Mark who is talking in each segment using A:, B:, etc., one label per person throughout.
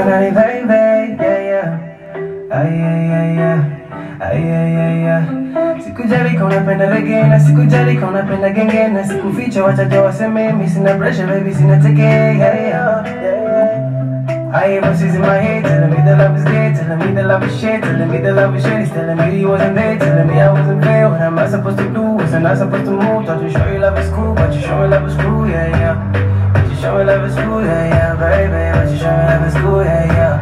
A: Kanani baby, yeah yeah. Ay ay ay ay. Ay ay ay ay. Sikujali kama unapenda reggae na sikujali kama unapenda genge na sikuficha wacha ndio waseme mimi sina pressure baby sina teke yeah yeah. I ain't voices in my head telling me the love is dead, telling me the love is shit, telling me the love is shit. He's telling me he wasn't there, telling me I wasn't fair. What am I supposed to do? Wasn't I supposed to move? Thought you show you love is cool, but you show me love is cool, yeah yeah. But you show me love is cool, yeah yeah, baby. But you show me love is cool, yeah yeah.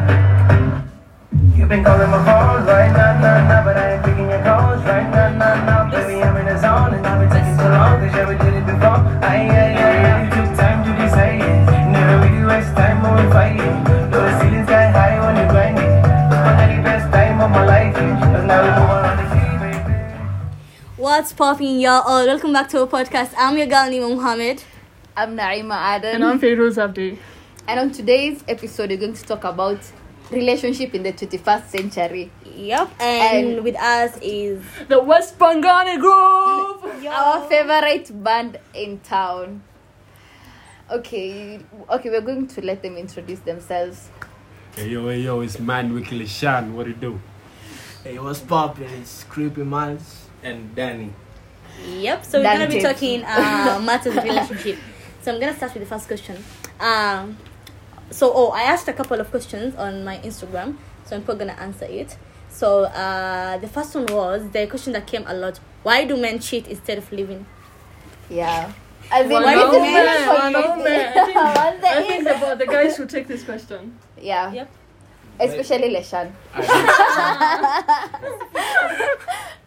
A: You've been calling my phone right now, now, now, but I ain't picking your calls right now, now, now. Baby, I'm in the zone and I've been taking so long 'cause you ever did it before. I, I, I, I took time to decide it. Never really waste time when we fight it. Though the ceiling's sky high when you grind it. But I had the best time of my life, yeah. 'Cause now we moving on to see, baby.
B: What's popping, y'all? All welcome back to our podcast. I'm your girl Nima Muhammad.
C: I'm Naima Adam,
D: And on Pharaoh's update.
C: and on today's episode, we're going to talk about relationship in the 21st century.
B: Yep. And,
C: And-
B: with us is
D: The West Pangani Grove!
C: Our favorite band in town. Okay, okay, we're going to let them introduce themselves.
E: Hey yo, hey yo, it's man Weekly Shan. What do you do?
F: Hey, what's poppin'? It's Creepy Miles.
E: And Danny.
B: yep. So we're gonna be
C: Dante.
B: talking uh, matters of relationship. So I'm gonna start with the first question. Um, so oh, I asked a couple of questions on my Instagram, so I'm probably gonna answer it. So uh, the first one was the question that came a lot: Why do men cheat instead of leaving?
C: Yeah. As in,
B: Wanaume,
C: this is really
D: wanaume. I think-
C: What's the
D: I think
C: in-
D: the, bo- the guys should take this question.
C: Yeah.
B: Yep.
C: Especially Leshan.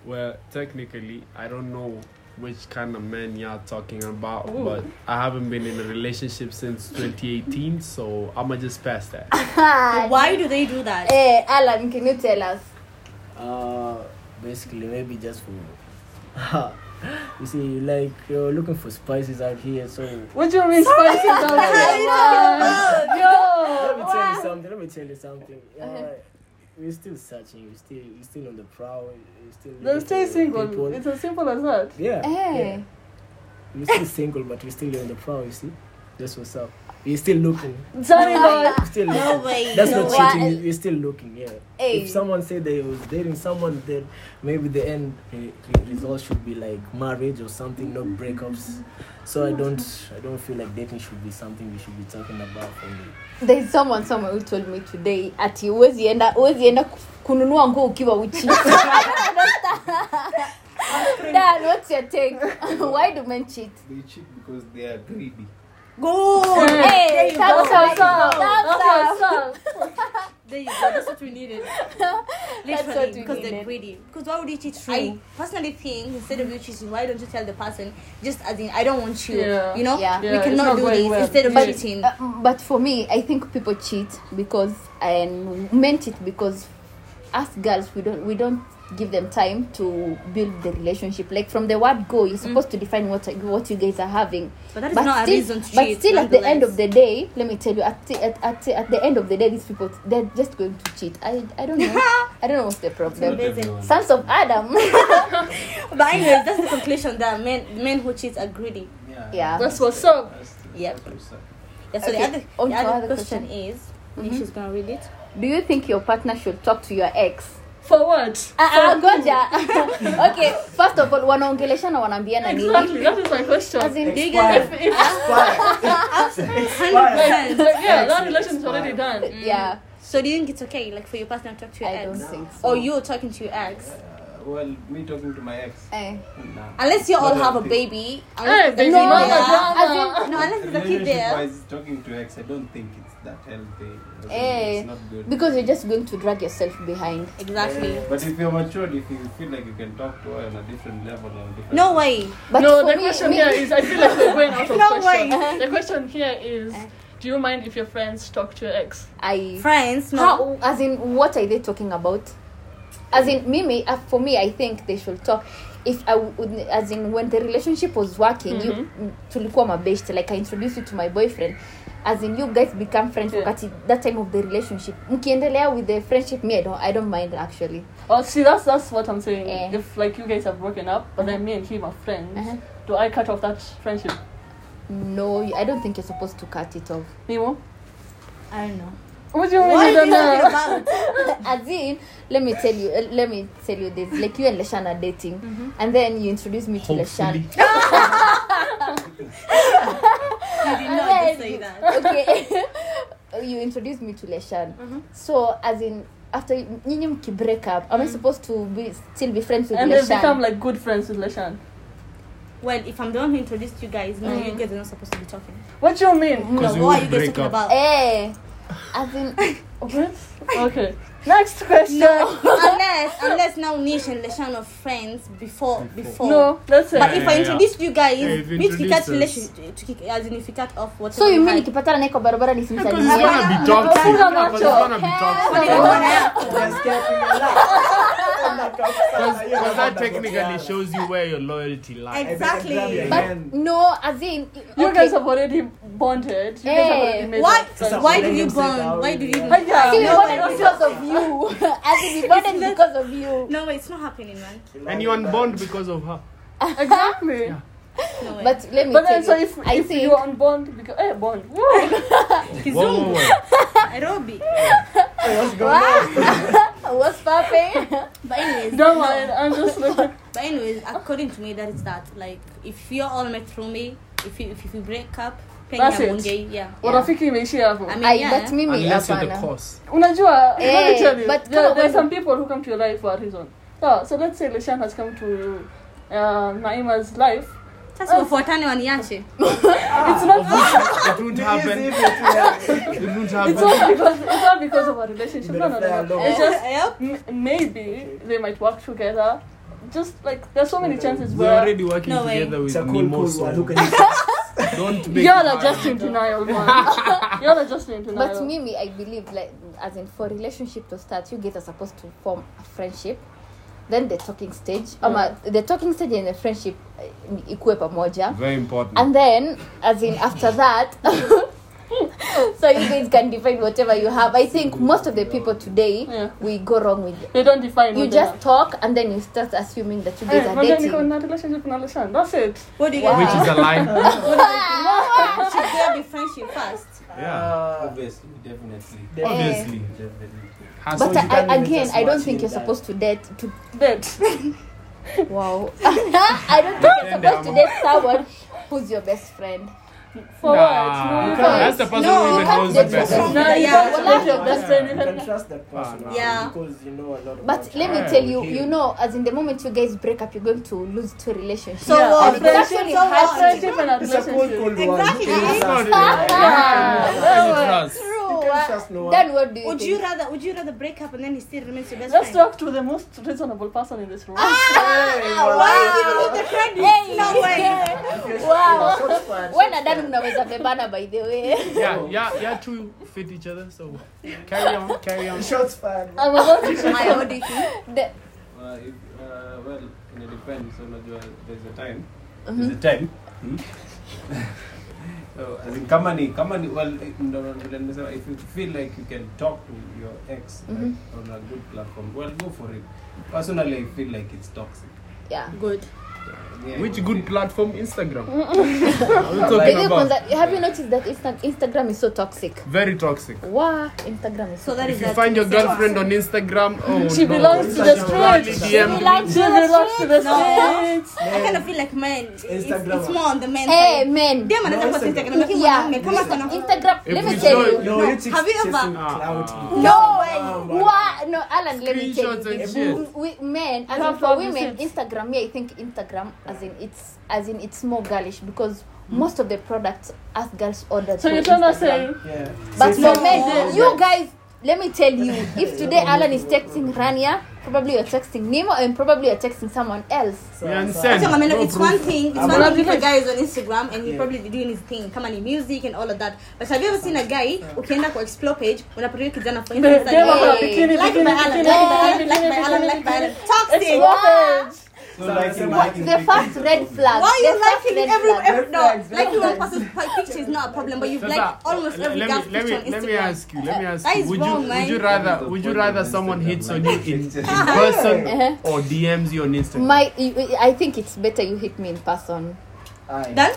E: Well, technically, I don't know which kind of man y'all talking about, but I haven't been in a relationship since 2018, so I'ma just pass that.
B: Why do they do that?
C: Eh, Alan, can you tell us?
F: Uh, basically, maybe just for. you see, like, you're looking for spices out here, so. Let
D: What do you mean spicy
F: me tell you something. Let me tell you something. Uh, we're still searching. We're still, we're still on the prowl. We're still.
D: They'll
F: looking
D: stay
F: for
D: single.
F: people.
D: It's as simple as that.
F: Yeah.
C: Eh.
F: yeah. We're still single, but we're still on the prowl, you see? That's what's up. We're still looking.
D: Sorry, God.
F: We're still looking.
B: No way.
F: That's
B: no
F: not
B: way.
F: cheating. you- You're still looking, yeah.
C: Hey.
F: If someone said they was dating someone, then maybe the end re- re- result should be like marriage or something, not breakups. So I don't, I don't feel like dating should be something we should be talking about for me.
C: there's someone somewhere who told me today ati huwezi enda huwezi enda ku- kununua nguo ukiwa uchi Dan, what's your take? Why do men cheat?
G: They cheat because they are greedy.
B: Good.
C: Hey, that's
D: That's
C: how-
D: what's up.
C: that's
D: That's
C: how-
D: what's up.
B: There you go. That's what we needed. Literally,
C: what we
B: because they're
C: needed.
B: greedy. Because why would you cheat? I personally think instead of you cheating, why don't you tell the person just as in I don't want you.
D: Yeah.
B: You know,
C: Yeah.
B: we
D: Yeah, it's
B: cannot
D: not
B: do
D: going
B: this
D: well.
B: instead of
D: But-
B: cheating.
C: Uh, but for me, I think people cheat because and men cheat because us girls we don't we don't give them time to build the relationship. Like from the word go, you're supposed to define what what you guys are having.
B: But that is not a reason to
C: But
B: cheat,
C: still, at the end
B: nonetheless.
C: of the day, let me tell you, at the, at, at, at the end of the day, these people they're just going to cheat. I I don't know. I don't know what's the problem. Sons of Adam.
B: but anyway, that's the conclusion that men men who cheat are greedy.
C: yeah.
D: That's what's up.
B: Yep. Yeah, so
C: Okay,
B: the other,
C: on
B: the
C: to
B: other,
C: other Mm-hmm.
B: question, is, she's gonna read it.
C: Do you think your partner should talk to your ex?
D: For what?
C: Ah, ah, goja okay first of all wanaongeleshana wanaambiana nini
D: Exactly. That is my question.
C: As in,
B: Do you guys
D: If- if- like,
B: understand?
D: yeah, that relation's already done.
C: yeah
B: So do you think it's okay, like for your partner to talk to your
C: I
B: ex,
C: don't think so.
B: or you're talking to your ex?
G: Uh, well, me talking to my ex.
C: Eh.
G: Nah.
B: Unless you all
G: But I
B: have a
G: think-
B: baby.
D: Hey,
B: Unless
D: baby
B: no,
D: mama
B: yeah.
D: drama.
B: no, unless there's a kid there.
G: Relationship-wise, talking to ex, I don't think it's that healthy. As in,
C: Eh,
G: It's not good.
C: because you're just going to drag yourself behind
B: Exactly.
G: but if you're matured, if you feel like you can talk to her on a different level, on a different
B: No way.
C: but
D: no,
C: for
D: the
C: me-
D: question
C: me-
D: here is I feel like we're going out of
B: No
D: question.
B: way.
D: The question here is do you mind if your friends talk to your ex?
C: i
B: Friends, no.
C: how as in what are they talking about as in mimi uh, for me i think they should talk if I would, as in when the relationship was working you mm, tulikuwa mabest like i introduced you to my boyfriend as in you guys become friends
D: Yeah.
C: wakati that time of the relationship mkiendelea with the friendship me i don't, I don't mind actually
D: Oh, see, that's that's what I'm saying.
C: Eh.
D: If like you guys have broken up, but then me and him are friends,
C: Uh-huh.
D: do I cut off that friendship?
C: No, you- I don't think you're supposed to cut it off.
D: Nemo?
B: I don't know.
C: What do you mean
B: What are
C: you
B: you
C: don't know?
B: talking about?
C: As in, let me tell you, uh, let me tell you this. Like you and Leshana are dating, and then you introduce me to
E: Hopefully.
C: Leshana.
B: You did not
C: Alright.
B: just say that.
C: Okay, you introduce me to Leshana.
D: Mm-hmm.
C: So as in, after you- nyinyi mki break up, am I supposed to be still be friends with
D: Mm-hmm. and they've become
C: Leshana?
D: like good friends with Leshan.
B: Well, if I'm the one who introduced you guys, no,
C: Mm.
B: you guys are not supposed to be talking.
D: What do you mean?
B: No,
E: you
B: what
E: would
B: are you guys
E: break
B: talking
E: up.
B: about?
C: Eh, as in,
D: What? Okay. Next question.
B: No, unless unless now Nish and Leshan are friends before before.
D: No, let's say.
B: But if I
E: Yeah, yeah.
B: introduced you guys,
E: Yeah, if you
B: me to kick out
E: introduced
B: relation, to kick, as in if you cut off whatever.
C: so you mean
B: had.
C: nikipatana naye kwa barabara
E: Because it's
C: nisimsalimie?
E: gonna be toxic.
D: Hakuna
E: Yeah, but it's
D: macho.
E: gonna be toxic.
B: Funny, yeah.
E: Because that technically shows you where your loyalty lies.
B: Exactly.
G: Yeah.
C: But no, as in,
D: you
C: okay.
D: guys have already bonded. You guys have already
C: Eh,
D: made
B: Why?
D: up
F: Sasa,
B: Why do
F: let
B: you
F: him say
B: bond?
F: that
B: Why do
F: already,
B: you?
F: yeah.
D: But yeah.
C: I think we
B: No,
C: bonded
B: wait,
C: because of you. I think we bonded because of you.
B: No, it's not happening, man.
E: And you unbond because of her.
D: Exactly.
B: No way.
C: But let me
D: But
C: tell
D: then, so
C: you,
D: if,
C: I
D: if
C: think
D: you're on bond, because eh, bond. Woo!
B: Kizungu,
E: Whoa, whoa, whoa.
B: Nairobi.
C: what's popping?
B: But anyways,
D: Don't
B: no.
D: mind. I'm just looking.
B: But anyways, according to me, that is that. Like, if you're all met through me, if you if you break up, pengine
D: That's it.
B: aongei, yeah.
D: Urafiki imeishia hapo.
B: I mean,
C: I,
B: yeah.
C: but mimi
E: Unless you're the
C: hapana.
E: cause.
D: unajua
C: Eh,
D: let me tell you,
C: but
D: there,
C: kama
D: there are
C: wewe-
D: some people who come to your life for a reason so, so let's say leshan has come to uh, naima's life
B: Sasa ufuatane waniache.
C: Ah.
D: it's not
E: It won't happen. It won't
D: it's
E: happen.
D: not because it's not because of our relationship no, no, no, no.
F: Better
D: it's just
B: Yep.
D: m- maybe they might work together just like there's so many chances
E: We're
D: where
E: already working
B: No way.
E: together with
F: It's a cool,
E: Nemo,
F: cool
E: so
F: one. Look at you.
E: don't make
D: y'all are
E: it
D: just in denial man y'all are just in denial
C: But mimi, I believe like as in for relationship to start, you guys are supposed to form a friendship. Then the talking stage, ama the talking stage and the friendship uh, ikue pamoja.
E: Very important.
C: And then, as in after that, so you guys can define whatever you have. I think most of the people today
D: Yeah.
C: we go wrong with.
D: they don't define
C: You
D: what they
C: just
D: are.
C: talk and then you start assuming that you guys
D: Eh,
C: are
D: but then you go
C: dating.
D: in a relationship na leshan that's it
B: What do you
C: Wow.
B: guys
E: Which is a lie.
B: think? Should there be friendship first?
E: Yeah.
G: Obviously, definitely.
E: Obviously.
G: Definitely.
E: Has
C: But
E: to
C: I,
F: can't
C: I,
F: even
C: again,
F: just
C: I don't
F: watch
C: think
F: it
C: you're
F: die.
C: supposed to date. To
D: date
C: wow, I don't think you're
E: Then
C: supposed to
E: I'm-
C: date someone who's your best friend.
D: for
E: Nah,
D: what
E: that's the person
B: No,
E: who
B: you
E: even
C: can't
E: knows
C: say
E: the
C: that.
E: best.
D: No, you
B: Yeah.
D: can't date your
F: Yeah.
D: best friend. You
F: You can
D: can
F: trust that person.
B: Yeah.
F: Because you know a lot about
C: But let me
E: Yeah,
C: tell you,
F: okay.
C: you know, as in the moment you guys break up, you're going to lose two relationships.
B: So
D: yeah,
B: what?
D: a friendship,
C: Actually,
B: so
D: a
C: happened.
B: what?
D: friendship and a
F: It's a cool, cool
D: relationship.
F: one.
B: Exactly.
F: You can't
E: It's not it.
F: trust-
E: Yeah. It's trust.
C: True.
F: You can't trust no one.
C: Then what do you
B: Would
C: think?
B: you rather would you rather break up and then he still remains your best
D: Let's
B: friend?
D: talk to the most reasonable person in this room.
B: uh, Why did you give the credit?
C: Hey,
B: No way.
C: wow.
B: uh,
C: When are done unaweza bebana by the way.
E: Yeah, yeah, yeah, two fit each other, so carry on, carry on.
F: Shots fired.
D: I'm about to
B: My ODT.
C: The,
G: Uh, if, uh, well, it depends. Unajua, there's a time.
B: Mm-hmm.
G: There's a time. Hmm? so, as in, kama ni kama ni well, eh, ndo- ndo nimesema, if you feel like you can talk to your ex
B: Mm-hmm.
G: like, on a good platform, well, go for it. Personally, I feel like it's toxic.
C: yeah.
B: Good.
G: Yeah,
E: Which
G: I
E: good
G: feel-
E: platform? Instagram. What are you
C: Did
E: talking
C: you
E: about?
C: consider- have you noticed that Insta- Instagram is so toxic?
E: Very toxic.
C: Wow, Instagram is so
B: So that is
E: If you
B: that.
E: find your girlfriend on Instagram, oh
D: She
E: no.
D: belongs to the
E: Instagram
D: streets.
E: really
D: She
E: DM.
C: belongs
D: She belongs to the
B: No.
D: streets.
B: I kind of feel like men. It's,
F: Instagram.
B: it's more on the men.
C: Hey
B: side.
C: man.
B: Dem anataka kwa Instagram lakini
C: Yeah.
B: mwanaume kama sana
C: Instagram,
E: If
C: let me
E: we
C: tell
E: saw
C: you.
E: it-
F: No,
B: No.
F: you
B: Have you
F: chasing
B: ever-
F: clout.
E: Ah.
C: No
F: Come
C: way.
F: on.
C: Wow. No, Alan, let me tell you.
E: Screenshots and
C: this.
E: shit.
C: M- We, men, as
D: You
C: in
D: have
C: for
D: to have
C: women,
D: receipts.
C: Instagram. Me, I think Instagram, as in it's, as in it's more girlish because most of the products us girls order.
D: So
C: through
D: you're trying to
C: Instagram.
D: say
F: Yeah.
C: But
F: So
C: for
F: it's
C: men,
F: not-
C: you guys, let me tell you, if today Alan is texting Rania, probably you're texting Nemo, and probably you're texting someone else.
F: So-
E: You
F: so-
E: understand?
B: So, I mean,
E: No
B: it's
E: proof.
B: one thing. It's
F: I'm
B: one
F: not
B: thing if a
D: gonna-
B: guy is on Instagram and he
F: Yeah.
B: probably doing his thing, kama ni music and all of that. But have you ever seen a guy ukienda kwa explore page unapatia kijana for
D: the
B: instance
D: them
C: yeah,
D: are
C: yeah.
D: bikini,
B: like
D: bikini,
B: by Alan,
D: bikini,
B: like by Alan,
D: bikini,
B: like by Alan,
D: bikini,
B: like by
D: bikini.
B: Alan. Toxic.
D: It's
B: Why
C: Wow.
G: So, like,
F: so
G: in
F: what-
G: my-
C: Ah, The first red
B: are
C: flag. the
B: you
C: first
B: liking
C: red
B: every
C: flag.
B: every no? Liking one person's picture is not a problem, but you
E: So
B: like
E: that-
B: almost
E: let
B: every
E: me-
B: girl's
E: let
B: picture
E: me
B: on Instagram.
E: let me ask you. Let me ask
B: That
E: you.
B: is
E: would
B: wrong,
E: you
B: man.
E: would you rather would you rather someone hits on you in, in
G: Yeah.
E: person
C: Uh-huh.
E: or DMs you on Instagram?
C: My, I think it's better you hit me in person
F: Aye.
B: Done?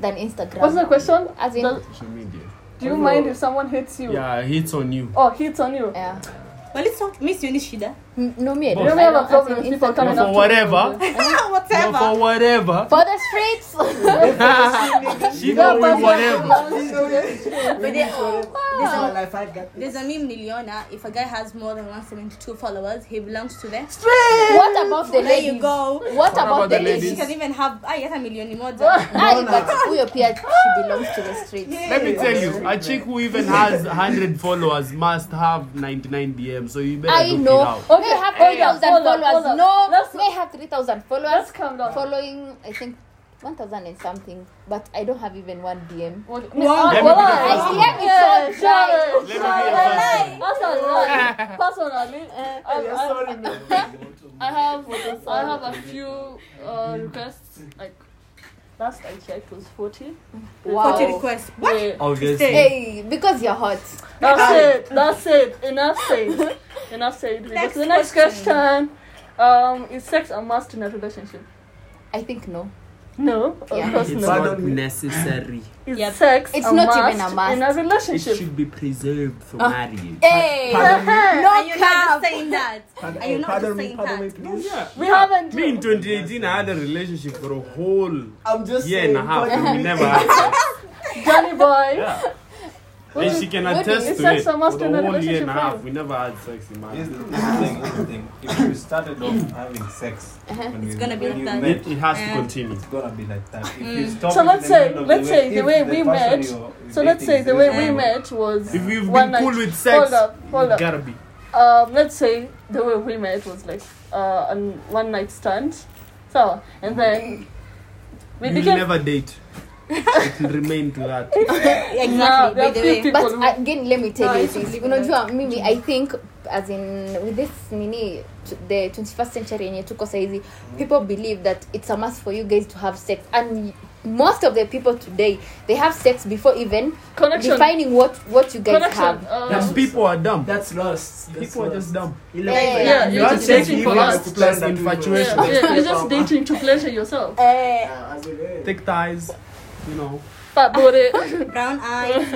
C: than Instagram.
D: What's the question?
C: As in,
D: The-
E: Social media.
D: Do you
E: Also-
D: mind if someone hits you?
E: Yeah, hits on you.
D: Or hits on you?
C: yeah
B: Well, it's not Miss Unishida.
C: N- no me I
E: Boss.
D: You
C: don't
D: don't have
C: I
D: a
C: don't-
D: problem
C: as
D: with
C: in
D: people
C: insult-
D: coming
E: No,
D: up
E: for
D: to
E: whatever.
D: you.
E: No,
B: Whatever.
E: for whatever.
C: for the streets
E: she go
D: but-
E: with whatever.
B: But they- there's, a,
F: Life I got
B: there's a meme Liliona. If a guy has more than 172 followers, he belongs to the.
C: what about the
B: There you
C: ladies
B: go.
C: what about the
B: She
C: ladies
B: can even have. I get a million moja.
C: ah but huyo pia she belongs to the streets
E: Let me tell you, a chick who even has 100 followers must have 99 DM. So you better
C: I
E: look
C: know.
E: it out.
C: Okay, may have
D: okay,
C: 3,000
D: hold up,
C: followers.
D: hold up.
C: No,
D: Let's-
C: may have 3,000 followers.
D: Let's calm down.
C: Following, I think, 1,000 and something. But I don't have even one DM.
D: Well,
E: Let me be
D: well,
E: the
D: I-
E: first
D: I-
E: one.
C: Let me
D: yeah,
C: so try.
D: sure,
E: Let me be
D: sure.
E: the first one.
D: That's a lie. Personally, I, I, I have I have a few uh, requests. Like last I checked was forty.
C: Wow.
B: 40 requests. What?
D: Yeah.
C: Oh,
E: Obviously.
B: Stay.
C: Hey, because you're hot.
D: That's it. That's it. Enough said. Enough said. We go to the next question. Um, is sex a must in a relationship?
C: I think no.
D: No, of
C: Yeah.
D: course
E: It's
D: not.
E: not necessary.
D: Is
B: Yep.
D: sex
C: It's
D: a
C: not
D: must
C: even a must.
D: in a
E: It
D: relationship?
E: should be preserved
B: Uh,
E: for marriage.
C: Hey,
B: Are
C: no
B: you
C: cap.
B: not just saying that? Are you not just saying that?
E: Yeah.
D: We haven't.
E: Me in 2018, I had a relationship for a whole
F: I'm just
E: year
F: saying,
E: and a half, and we
F: fucking-
E: never had sex.
D: Johnny boy.
E: Yeah.
D: What
E: And
D: is-
E: she can
C: what
E: attest
D: is-
E: to
D: sex
E: it.
D: a must
E: For the
D: in a
E: whole year
D: relationship
E: and a
D: for
E: half,
D: you?
E: we never had sex in my
G: Here's the here's the thing, here's the thing. If you started off having sex, when
B: Uh-huh. It's
G: you-
B: gonna be
G: when
B: like
G: you
B: that. Mm.
G: met,
E: It, it has
B: Yeah.
E: to continue.
G: It's gonna be like that. If you stop
D: So
G: in the
D: let's say-
G: middle of
D: let's say
G: if
D: the way
G: the
D: we
G: person
D: met-
G: you're
D: So let's say
G: dating
D: the
G: is
D: way
G: very
D: we
B: Um,
G: much-
D: met was
E: If we've
D: one
E: been
D: night.
E: cool with sex,
D: Hold up, hold
E: you
D: up.
E: gotta be.
D: Um, let's say the way we met was like uh, an one night stand. So and then we
E: You'll
D: became.
E: never date. it will remain to that.
D: Nah,
B: Exactly.
D: there
B: By the
D: are few
B: way.
D: people
C: But
D: who-
C: again, let me
B: No,
C: tell
B: I
C: you
B: should
C: this.
B: leave
C: Unajua mimi I think as in with this nini t- the 21st century yenye tuko saizi people believe that it's a must for you guys to have sex and most of the people today they have sex before even
D: Connection.
C: defining what what you guys
D: Connection.
C: have
D: Uh,
E: And people are dumb.
F: That's lost. That's
E: people are just dumb.
C: Yeah,
D: yeah, you're
E: Not
D: just
E: sex,
D: dating for
E: even
D: lust.
E: lust plus infatuation.
D: Yeah, yeah, you're just dating to pleasure yourself.
C: Eh,
E: Thick thighs, you know.
D: But but it,
B: Brown eyes.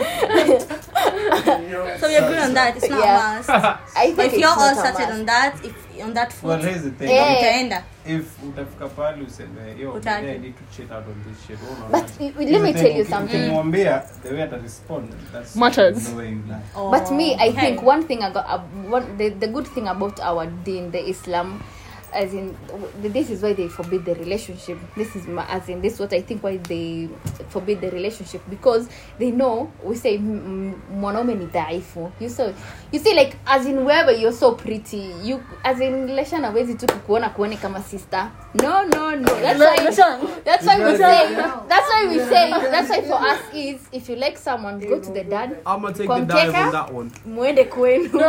B: so we agree on that. It's not
C: Yeah.
B: a must.
C: I think
B: But if
C: it's
B: you're all
C: not a
B: started
C: must.
B: on that, if on that foot,
G: Well, here's the thing.
C: Eh.
B: utaenda.
G: If utafika pale useme, yo,
B: Utaki.
G: today I need to cheat out on this shit. oh, Wewe
C: but
G: unaona?
C: y- let me
G: Here's the
C: tell
G: thing,
C: you
G: uki-
C: something
G: ukimwambia, the way ata respond, that's
D: Matters.
G: the way you like.
B: Oh,
C: But me, I
B: okay.
C: think one thing I got, uh, one, the, the good thing about our deen, the Islam, as in, w- this is why they forbid the relationship. This is my, as in, this is what I think why they forbid the relationship because they know we say "M- m- mwanaume ni dhaifu. You so, you see like as in wherever you're so pretty, you as in lesha na wezi tu kukuona kuone kama sister. No, no, no. That's
D: Le-
C: why.
D: listen,
C: That's why we
E: Yeah.
C: say. That's why we say. That's why for us is if you like someone, go to the dad.
E: I'm gonna take
C: Kwamteka?
E: the dive on that one.
C: Muende kwenu.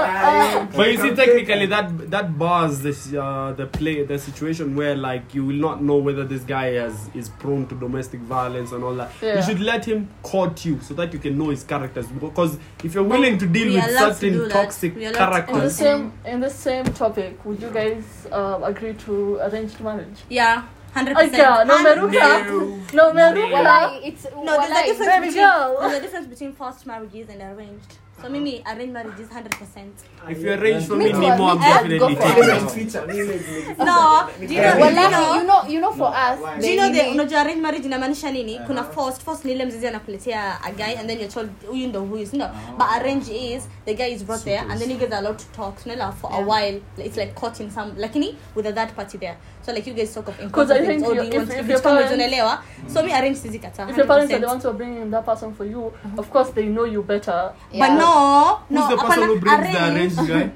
E: But you see, technically, that that bars this uh, the play the situation where like you will not know whether this guy is is prone to domestic violence and all that.
D: Yeah.
E: You should let him court you so that you can know his characters. Because if you're willing to deal
B: We
E: with
B: are allowed to do
E: certain
B: that.
E: toxic
B: We are allowed to-
D: in the
E: characters,
D: same in the same topic, would you guys uh, agree to arranged marriage?
B: Yeah, hundred
D: Okay,
B: percent.
D: no meruka, no meruka.
C: Walai, it's
B: No, there's a
C: walai.
B: difference
D: There we
B: between
D: go.
B: there's a difference between forced marriages and arranged. So Mimi, arranged marriage is hundred percent.
E: if you arrange for
C: Me
E: me,
C: too,
E: Nemo, I'm
C: me too.
E: definitely
C: Go for
E: taking
F: Let
E: it.
F: me feature, let me make- make-
B: No, do you know? do you know-
C: Walai, you know, you know for us.
B: do you know the
C: they-
B: unajua arranged marriage inamaanisha nini kuna forced forced ni ile mzizi anakuletea a guy and then you're told huyu ndo huyu sindo
E: Ah.
B: but arrange is the guy is brought there and then you guys are allowed to talk so like, for a while like, it's like caught in some lakini with a third party there so like you guys talk of important
D: I think
B: things or do
D: you-
B: you
D: if-
B: want
D: if
B: to
D: your
B: vitu kama
D: parents-
B: unaelewa so me arrange sizi kata
D: If your parents are the
B: 100%.
D: ones who are bringing that person for you, of course they know you better.
B: but no no
E: Who's the person
B: hapana,
E: who brings the
B: arrange-
E: arranged guy?
C: See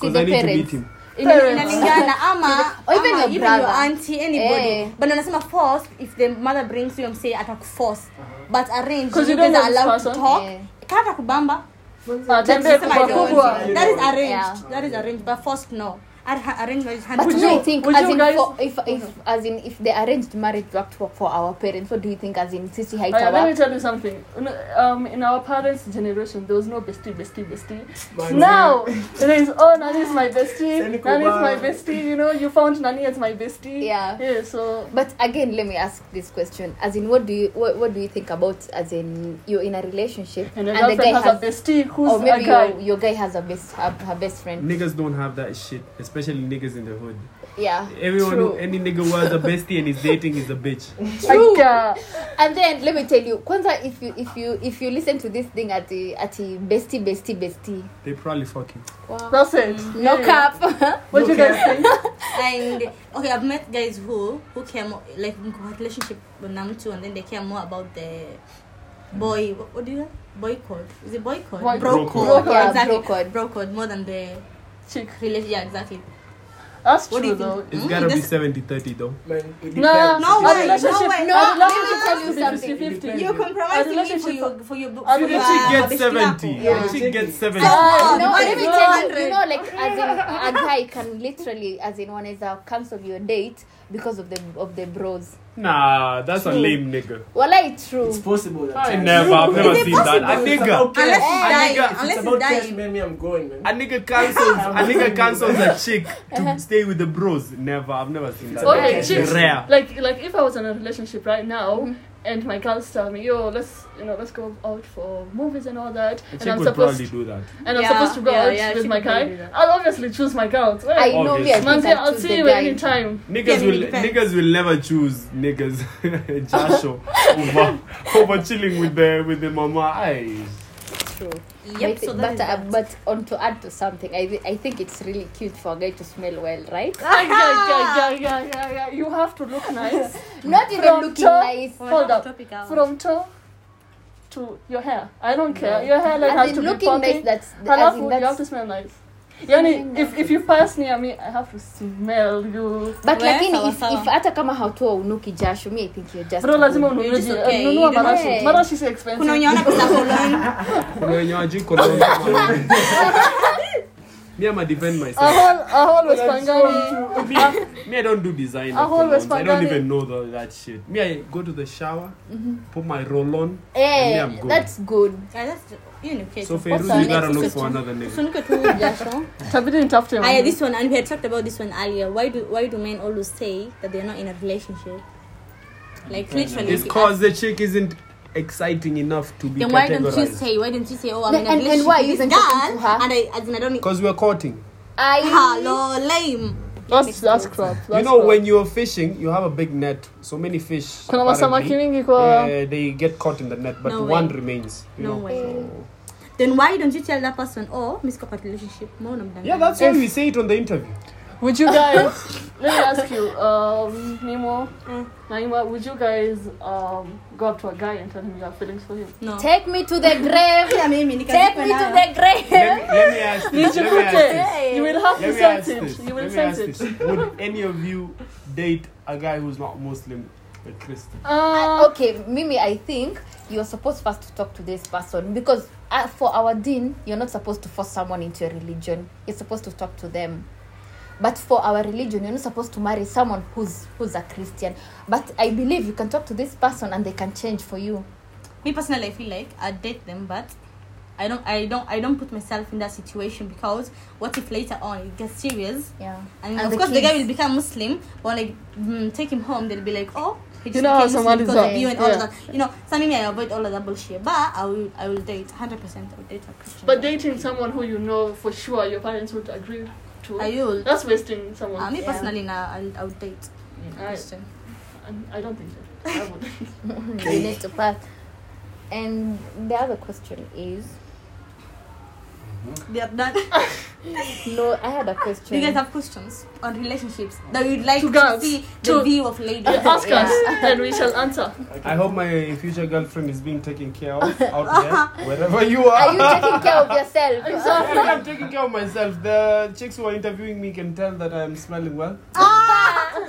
E: Because
C: the
E: I need to meet
C: parents.
E: him.
B: Ina-
D: Parents.
B: inalingana ama
C: Or even
B: ama
C: your
B: even
C: brother.
B: your auntie anybody
C: Eh.
B: but unasema force if the mother brings you and say atakuforce but arrange
D: Uh-huh. 'Cause you
B: guys
D: don't know
B: are
D: this
B: allowed to
D: person.
B: talk
C: Eh.
B: kata kubamba
D: Uh,
B: That's
D: tembe
B: the system I
D: kubwa
B: don't.
D: kubwa.
B: that is arranged
C: Yeah.
B: that is arranged but forced no ar- arranged marriage
C: But
D: Would
B: hundred
C: no,
D: you-
C: I think
D: would
C: as
D: you
C: in
D: guys-
C: for, if if as in if the arranged marriage worked for, for our parents, what do you think as in Sisi
D: Alright, let me
C: Haitawa?
D: tell you something. In- Um, in our parents' generation, there was no bestie, bestie, bestie.
F: But-
D: Now there is oh Nani is my bestie,
F: Send it
D: Nani is my
F: over.
D: bestie. You know, you found Nani as my bestie.
C: Yeah.
D: Yeah. So
C: But again, let me ask this question: as in, what do you what, what do you think about as in you're in a relationship
D: and, a girlfriend has, a bestie who's
C: or Oh, maybe
D: a guy.
C: your, your guy has a best her, her best friend?
E: Niggas don't have that shit, especially niggas in the hood.
C: Yeah,
E: Everyone,
D: True.
E: who, any nigga who has a bestie and is dating is a bitch.
C: True.
D: Aga.
C: and then let me tell you, Kwanza, if you if you if you listen to this thing at the at the bestie bestie bestie, Mm.
E: They probably fucking.
C: wow,
D: That's it.
C: no
D: Yeah.
C: cap.
D: What do you guys think?
B: and okay i've met guys who who care more like mko kwa relationship na mtu and then they care more about the boy what, what do you have boy code is it boy code
D: Boy-
B: bro
E: Bro
B: code
C: code. Yeah,
B: exactly
C: bro code.
B: bro code more than the
D: Chick.
B: relation yeah exactly
D: That's
B: What do
D: true
B: you
D: though.
B: think?
E: It's
B: Mm,
E: gotta be
B: that's-
E: 70 30 though.
F: Man, it
D: No,
F: depends.
B: No way,
F: It
D: a
B: no
F: depends.
D: relationship.
B: way.
D: a
C: No,
D: relationship
C: let me tell you
D: has to be
C: something.
D: 50-50.
B: you compromise me for
D: relationship-
B: your for your
D: a
B: for your
D: relationship
B: uh,
E: She gets
B: bestie
E: 70.
B: yako.
F: Yeah.
E: She gets 70.
B: Ah,
C: no,
B: why
C: let me
B: is it
C: tell you,
B: 100?
C: you know, like as in a guy can literally, as in one is a cancel your date because of the of the bros.
E: Nah, that's a lame nigga.
C: Well, like true.
F: It's possible. at
E: I
F: times.
E: never, I've never
B: it
E: seen that. A
F: It's
E: nigga.
F: about cash.
B: Unless he's
F: A
B: dying,
F: nigga, if it's
B: unless he's
F: about cash,
B: dying.
F: man, me, I'm going, man.
E: A nigga cancels. a nigga cancels a chick to stay with the bros. Never, I've never seen that.
D: Okay,
E: It's
D: chicks.
E: rare. Mm-hmm.
D: Like like if I was in a relationship right now and my girls tell me, yo, let's you know, let's go out for movies and all that
E: A
D: and
E: chick
D: I'm
E: would
D: supposed
E: probably do that.
D: and I'm
B: Yeah,
D: supposed to go
B: yeah,
D: out
B: yeah,
D: with
B: she
D: my
B: could probably
D: guy,
B: do that.
D: I'll obviously choose my girls. Wait,
C: I know me. I
E: Obvious.
C: think
D: Manzi,
C: I'll
D: I'll
C: choose
D: see
C: the
D: you at any
C: guy.
D: time.
E: Niggas
B: it
E: will
B: depends.
E: niggas will never choose niggas Jasho over over chilling with the with the mama eyes.
C: True.
B: yep
C: but
B: so that
C: but,
B: is
C: uh,
B: that.
C: but on to add to something, I thi- I think it's really cute for a guy to smell well, right?
D: yeah, yeah, yeah, yeah, yeah, yeah. You have to look nice.
C: Not even
D: From
C: looking
D: top-
C: nice.
B: We're
D: hold
B: not
D: up.
B: topic hour.
D: From top to your hair. I don't care. Your hair like
C: As
D: has
C: in
D: to be
C: looking nice.
D: popping.
C: That's as in
D: Halafu, you have
C: that's.
D: to smell nice.
C: Smelling
D: Yani, if,
C: nice.
D: if you pass near me, I have to smell you.
C: But
B: Well,
C: lakini
B: sawa,
C: if
B: sawa.
C: if hata kama hautoa unuki jasho, me I think you're just.
D: Bro, lazima
C: good.
D: ununue
B: just
D: ji-
B: okay.
D: ununua
B: You don't
D: marashi.
C: care.
D: Marashi is expensive.
B: kuna wenye wana pesa koloni
E: Kuna wenye hawajui condom. Me, I'ma defend
D: A
E: myself.
D: whole, a whole Wespangani.
E: Me, me, I don't do design.
D: A
E: of
D: whole
E: condoms. I don't
D: Wespangani.
E: even know the, that shit. Me, I go to the shower,
B: Mm-hmm.
E: put my roll on.
C: Eh,
E: Yeah, I'm good.
C: that's good.
B: Yeah, that's you know okay
E: So
C: What's
E: Feiruz,
C: our
E: you gotta
C: next
E: look for
C: question?
E: another nigga.
B: usunike tu jasho
D: Tabidi nitafute
B: Aya,
D: mama.
B: this one, and we had talked about this one earlier. Why do why do men always say that they're not in a relationship? Like literally,
E: It's
B: if you
E: cause the chick isn't exciting enough to
B: ask-
E: be
B: Then why don't you
E: categorized.
B: say? Why don't you say? Oh, I'm
C: Then-
B: in a
C: and- and
B: relationship
C: why
B: with
C: isn't
B: this
C: talking to her?
B: girl, and I, I, I don't. need-
E: Cause we're courting.
C: I
B: Hello, lame.
D: That's, that's crap. That's
E: you know,
D: crap.
E: when you're fishing, you have a big net. So many fish.
D: Kuna masamaki
E: apparently,
D: mingi kwa-
E: uh, they get caught in the net, but
B: No way.
E: one remains. You
B: No
E: know?
B: way.
E: So-
B: Then why don't you tell that person? Oh, miss Kopat relationship. More than
E: yeah, that's why we say it on the interview.
D: Would you guys let me ask you, um, Nemo, Naima, would you guys um go up to a guy and tell him you have feelings for him?
B: no.
C: Take me to the grave.
B: Yeah, mimi
C: Take me to the grave.
E: Let me, let me ask
D: Did
E: this.
D: you
E: Let me
D: cook
E: ask this.
B: Eh.
D: it? You will have
E: Let
D: to
E: me ask
D: sense it.
E: this.
D: You will
E: Let me
D: sense
E: ask
D: it.
E: this. Would any of you date a guy who's not Muslim but Christian?
D: Uh,
C: okay, Mimi, I think you're supposed first to talk to this person because uh, for our deen, you're not supposed to force someone into a religion. You're supposed to talk to them. But for our religion, you're not supposed to marry someone who's who's a Christian. But I believe you can talk to this person and they can change for you.
B: me personally i feel like i date them but i don't i don't i don't put myself in that situation because what if later on it gets serious
C: Yeah.
B: and,
C: And
B: of
C: the
B: course the guy
C: kids.
B: will become muslim but like mm, take him home they'll be like oh he
D: You know how
B: became Muslim
D: Somalis
B: because of
D: are.
B: you and all
D: Yeah.
B: of that you know some of me i avoid all of that bullshit but i will i will date 100 percent i will date a christian
D: but dating someone who you know for sure your parents would agree to.
B: i will
D: That's wasting someone.
B: uh, me
C: Yeah.
B: personally now I'll, I would date a
D: I,
B: christian
D: I don't think so. I would.
C: you need to pass. And the other question is
B: they are done
C: no, I had a question.
B: do you guys have questions on relationships that you'd like
D: To
B: to,
D: girls.
B: see the
D: To- Uh,
B: view of ladies
D: Ask us, and we shall answer.
E: I hope my future girlfriend is being taken care of out there, wherever you
C: Are you taking care of yourself?
E: Sorry, I'm taking care of myself. The chicks who are interviewing me can tell that I'm smelling well.
B: Ah!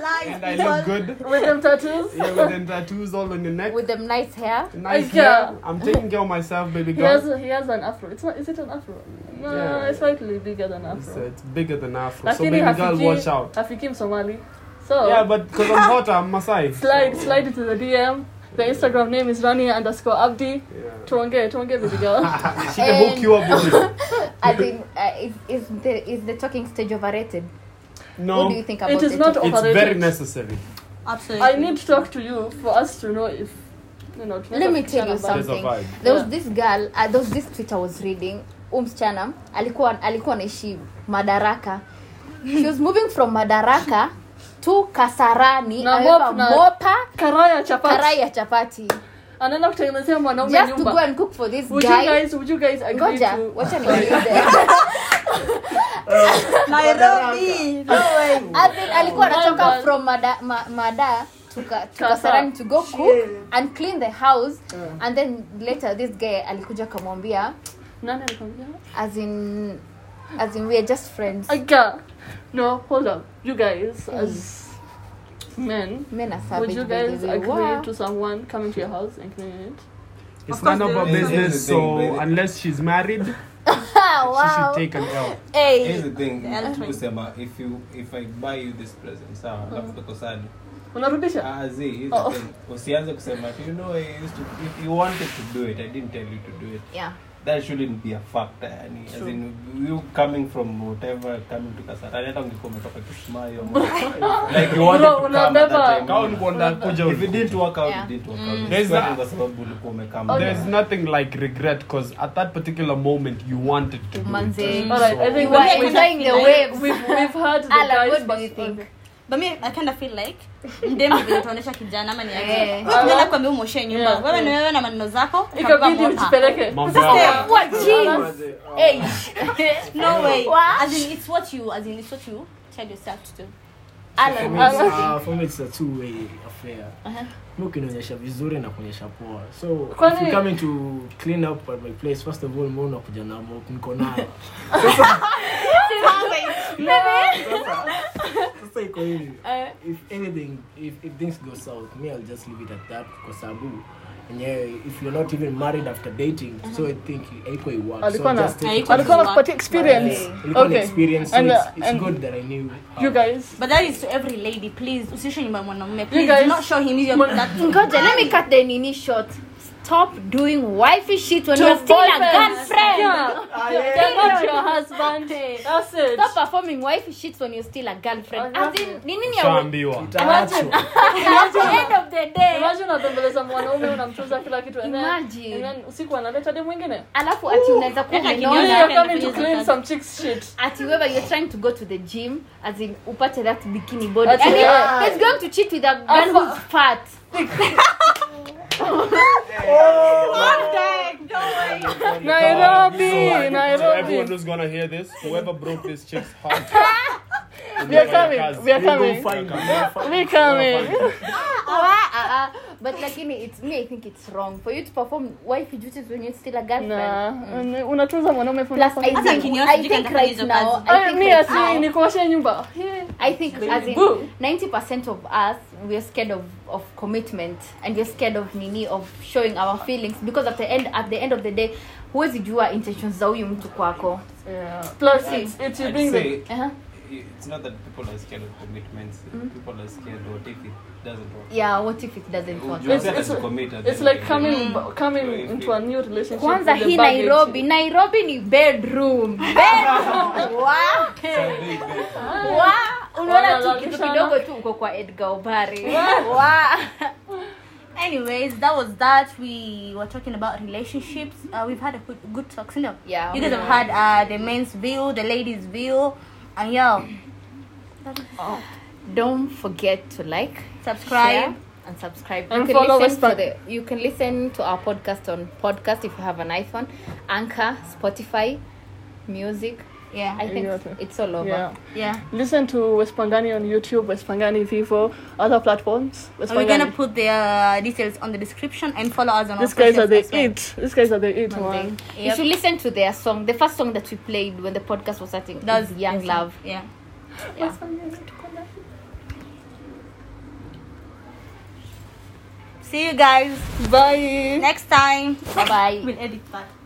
B: lies.
E: And I look good.
D: With them tattoos?
E: Yeah, with them tattoos all on the neck.
C: with them nice hair.
E: Nice
D: Yeah.
E: hair. I'm taking care of myself, baby
D: He
E: girl.
D: has, he has an afro. It's not, is it an afro? No,
E: Yeah.
D: it's slightly bigger than
E: It's, uh,
D: afro.
E: it's bigger than Afro. So
D: Lakini
E: baby girl,
D: Hafiki-
E: watch out.
D: Afikim Somali. So,
E: Yeah, but because I'm hotter, I'm Masai.
D: Oh. slide, slide into the DM. The Instagram name is Rani underscore Abdi.
E: Yeah.
D: Tuonge, tuonge baby girl.
E: She can hook you up with it.
C: I think uh, is, is the is the talking stage overrated?
E: No,
C: What do you think about
D: it is
C: the
D: not
C: talking-
E: it's
D: overrated.
E: very necessary.
B: Absolutely.
D: I need to talk to you for us to know if, you know, to make
C: Let
D: a
C: me tell
D: decision
C: you
D: about
E: There's a
C: something.
E: vibe.
C: There was
D: Yeah.
C: this girl, uh, there was this tweet I was reading. Umschana alikuwa alikuwa anaishi Madaraka. She was moving from Madaraka to Kasarani,
D: Na
C: ameweka
D: mop na-
C: mopa,
D: Karaya chapati.
C: karai ya chapati.
D: Anaenda kutengenezea mwanaume
C: Just to go
D: nyumba.
C: and cook for this
D: Would you
C: guy.
D: guys, would you guys agree
C: Ngoja,
D: to...
C: wacha niulize.
B: Nairobi. No way.
C: As in, alikuwa anatoka
D: London.
C: from mada, ma, mada to, ka, to
D: Kasa.
C: kasarani to go cook and clean the house and then later this guy alikuja akamwambia
D: Nani alikwambia?
C: as in as in we are just friends
D: Aga. No, hold up. You guys,
C: Hmm.
D: as men,
C: men are savage
D: would you
C: by the
D: guys
C: way.
D: agree
C: Wow.
D: to someone coming to your house and cleaning it?
E: It's none of our
G: there is. Here's
E: business,
G: the thing,
E: so
G: baby.
E: unless she's married,
C: Oh, wow.
E: she should take an L.
G: Here's
C: hey.
G: the thing,
B: elephant.
G: mtu kusema if you if I buy you this present sawa, alafu tukosane.
D: Unarudisha?
G: Ah, zii, here's
D: Oh.
G: the thing. Usianze kusema you know I used to if you wanted to do it, I didn't tell you to do it.
C: yeah
G: That shouldn't be a factor. Yani, as in you coming from whatever coming to Kasarani hata ungekuwa umetoka Kismayo ama- like you wanted
D: Una-
G: to come
D: una
G: at that
D: never-
G: time.
E: Kama ulikuwa unakuja
G: If it didn't work out,
C: Yeah. Mm. Oh,
G: it didn't work out.
E: There's
G: Usifuate
E: that-
G: kwa sababu ulikuwa umekama.
E: There's nothing like regret because at that particular moment you wanted to do it.
C: manze
D: Alright, I think
C: you are
D: we-
C: enjoying the waves
D: We've, we've heard the
C: Ala,
D: guys.
C: what do you
D: but-
C: think?
B: But me, I kind of feel like ndemu vinatuonesha kijana ama ni aje.
C: Eh.
B: Wewe tunaenda kuambia umoshe nyumba.
D: Yeah.
B: Wewe ni wewe na maneno zako.
D: Ikabidi
B: utabeba mopa.
D: ujipeleke.
E: Mambo
B: Sasa,
E: yao.
C: what jeans
E: oh.
C: hey
B: No way.
C: What?
B: As in, it's what you, as in, it's what you tell yourself to do.
F: For
C: alan
F: me, it's, uh, for me it's a two way affair
B: Uh-huh.
F: mi ukinionyesha vizuri na kuonyesha poa so
D: Kwani-
F: if you coming to clean up at my place first of all mi unakuja na mop niko nayo sasa iko hivi
D: Uh-huh.
F: if anything if, if things go south me i'll just leave it at that kwa sababu enyewe if you're not even married after dating so i think haiko iwork so
D: Alikuwa
F: I'll
D: na-
F: just take
B: Haiko-
F: it as-
D: Uh-huh. Alikuwa anakupatia experience.
C: Yeah.
F: ilikuwa ni
D: Okay.
F: experience so
D: And, uh,
F: it's, it's
D: and-
F: good that i knew how.
D: You guys.
B: But that is to every lady, please. Usishe nyumba ya mwanamume. Please,
D: guys-
B: do not show him your that.
C: Ngoja, let me cut the nini short. Stop doing wifey shit when
D: To
C: you're still a
D: boyfriends.
C: girlfriend.
D: Yeah. They're not your husband. That's it.
C: Stop performing wifey shit when you're still a girlfriend. As in, ni nini ya
E: Ushaambiwa.
F: Itaachwa.
C: at the end of the day?
D: Imagine unatembeleza mwanaume unamtunza kila kitu and then-
C: Imagine.
D: and then usiku analeta dem mwingine.
C: Alafu ati unaweza kuwa
B: Kaka
D: You
B: kinyonge.
C: umeona
D: are
B: anapenda
D: coming to
B: kunyesha
D: clean
B: sana.
D: some chicks shit.
C: ati wewe you're trying to go to the gym as in upate that bikini body.
D: Ati
C: And
D: wewe-
C: he's going to cheat with a girl who's fat.
E: So,
D: Nairobi,
E: To everyone
D: Nairobi.
E: who's gonna hear this, whoever broke this chick's heart,
D: We are coming. We are coming. We coming.
C: Ah, ah, ah. But lakini it's me I think it's wrong for you to perform wifey duties when you're still a girlfriend.
D: Nah, una- unatunza mwanaume for
C: Mm. Plus, I
B: Hata
C: think,
B: kinyoa
C: I
B: sijui
C: think
B: kama
C: right
B: hizo
C: now,
B: kazi.
C: I think
D: mi
C: right
D: asi
C: now,
D: nikuoshe nyumba Yeah.
C: I think as
D: Boo.
C: in ninety percent of us we're scared of, of commitment and we're scared of nini of showing our feelings because at the end at the end of the day huwezi jua intentions za huyu mtu kwako
D: plus it's it's you
G: I'd
D: being the
G: say
C: uh-huh.
G: it's not that people are scared of commitments. People are scared what if it doesn't work.
C: yeah what if it doesn't work
G: Ujue
D: It's-
G: hata
D: it's-
G: commit at the
D: it's
G: end of
D: like
G: the day. Mm.
D: coming b- coming
G: So if
D: into
G: you-
D: a new relationship
C: kwanza
D: with the
C: hii
D: baggage.
C: nairobi nairobi ni bedroom bedroom Wow. Wow. unaona tu kitu kidogo tu uko kwa edgar obari Wow.
B: Anyways, that was that. We were talking about relationships. Uh, we've had a good, good talk, you know.
C: Yeah.
B: You guys have had uh, the men's view, the ladies' view, and yeah,
C: don't forget to like
B: subscribe.
C: Share and subscribe.
D: And
C: you can
D: follow
C: listen
D: us
C: to the you can listen to our podcast on podcast if you have an iPhone, Anchor, Spotify, music.
B: Yeah,
C: I think
D: Exactly.
C: it's all over.
D: yeah
B: yeah.
D: listen to wespangani on youtube wespangani vivo other platforms
B: And we're gonna
D: wespangani
B: put the uh, details on the description and follow us on
D: these
B: our
D: guys
B: socials
D: are the
B: as well.
D: it these guys are the it one
C: Something. You
B: Yep.
C: should listen to their song. The first song that we played when the podcast was starting
B: That's
C: is Young Love.
B: Yeah. See you guys
D: Bye.
B: next time.
C: Bye-bye.
B: We'll edit that.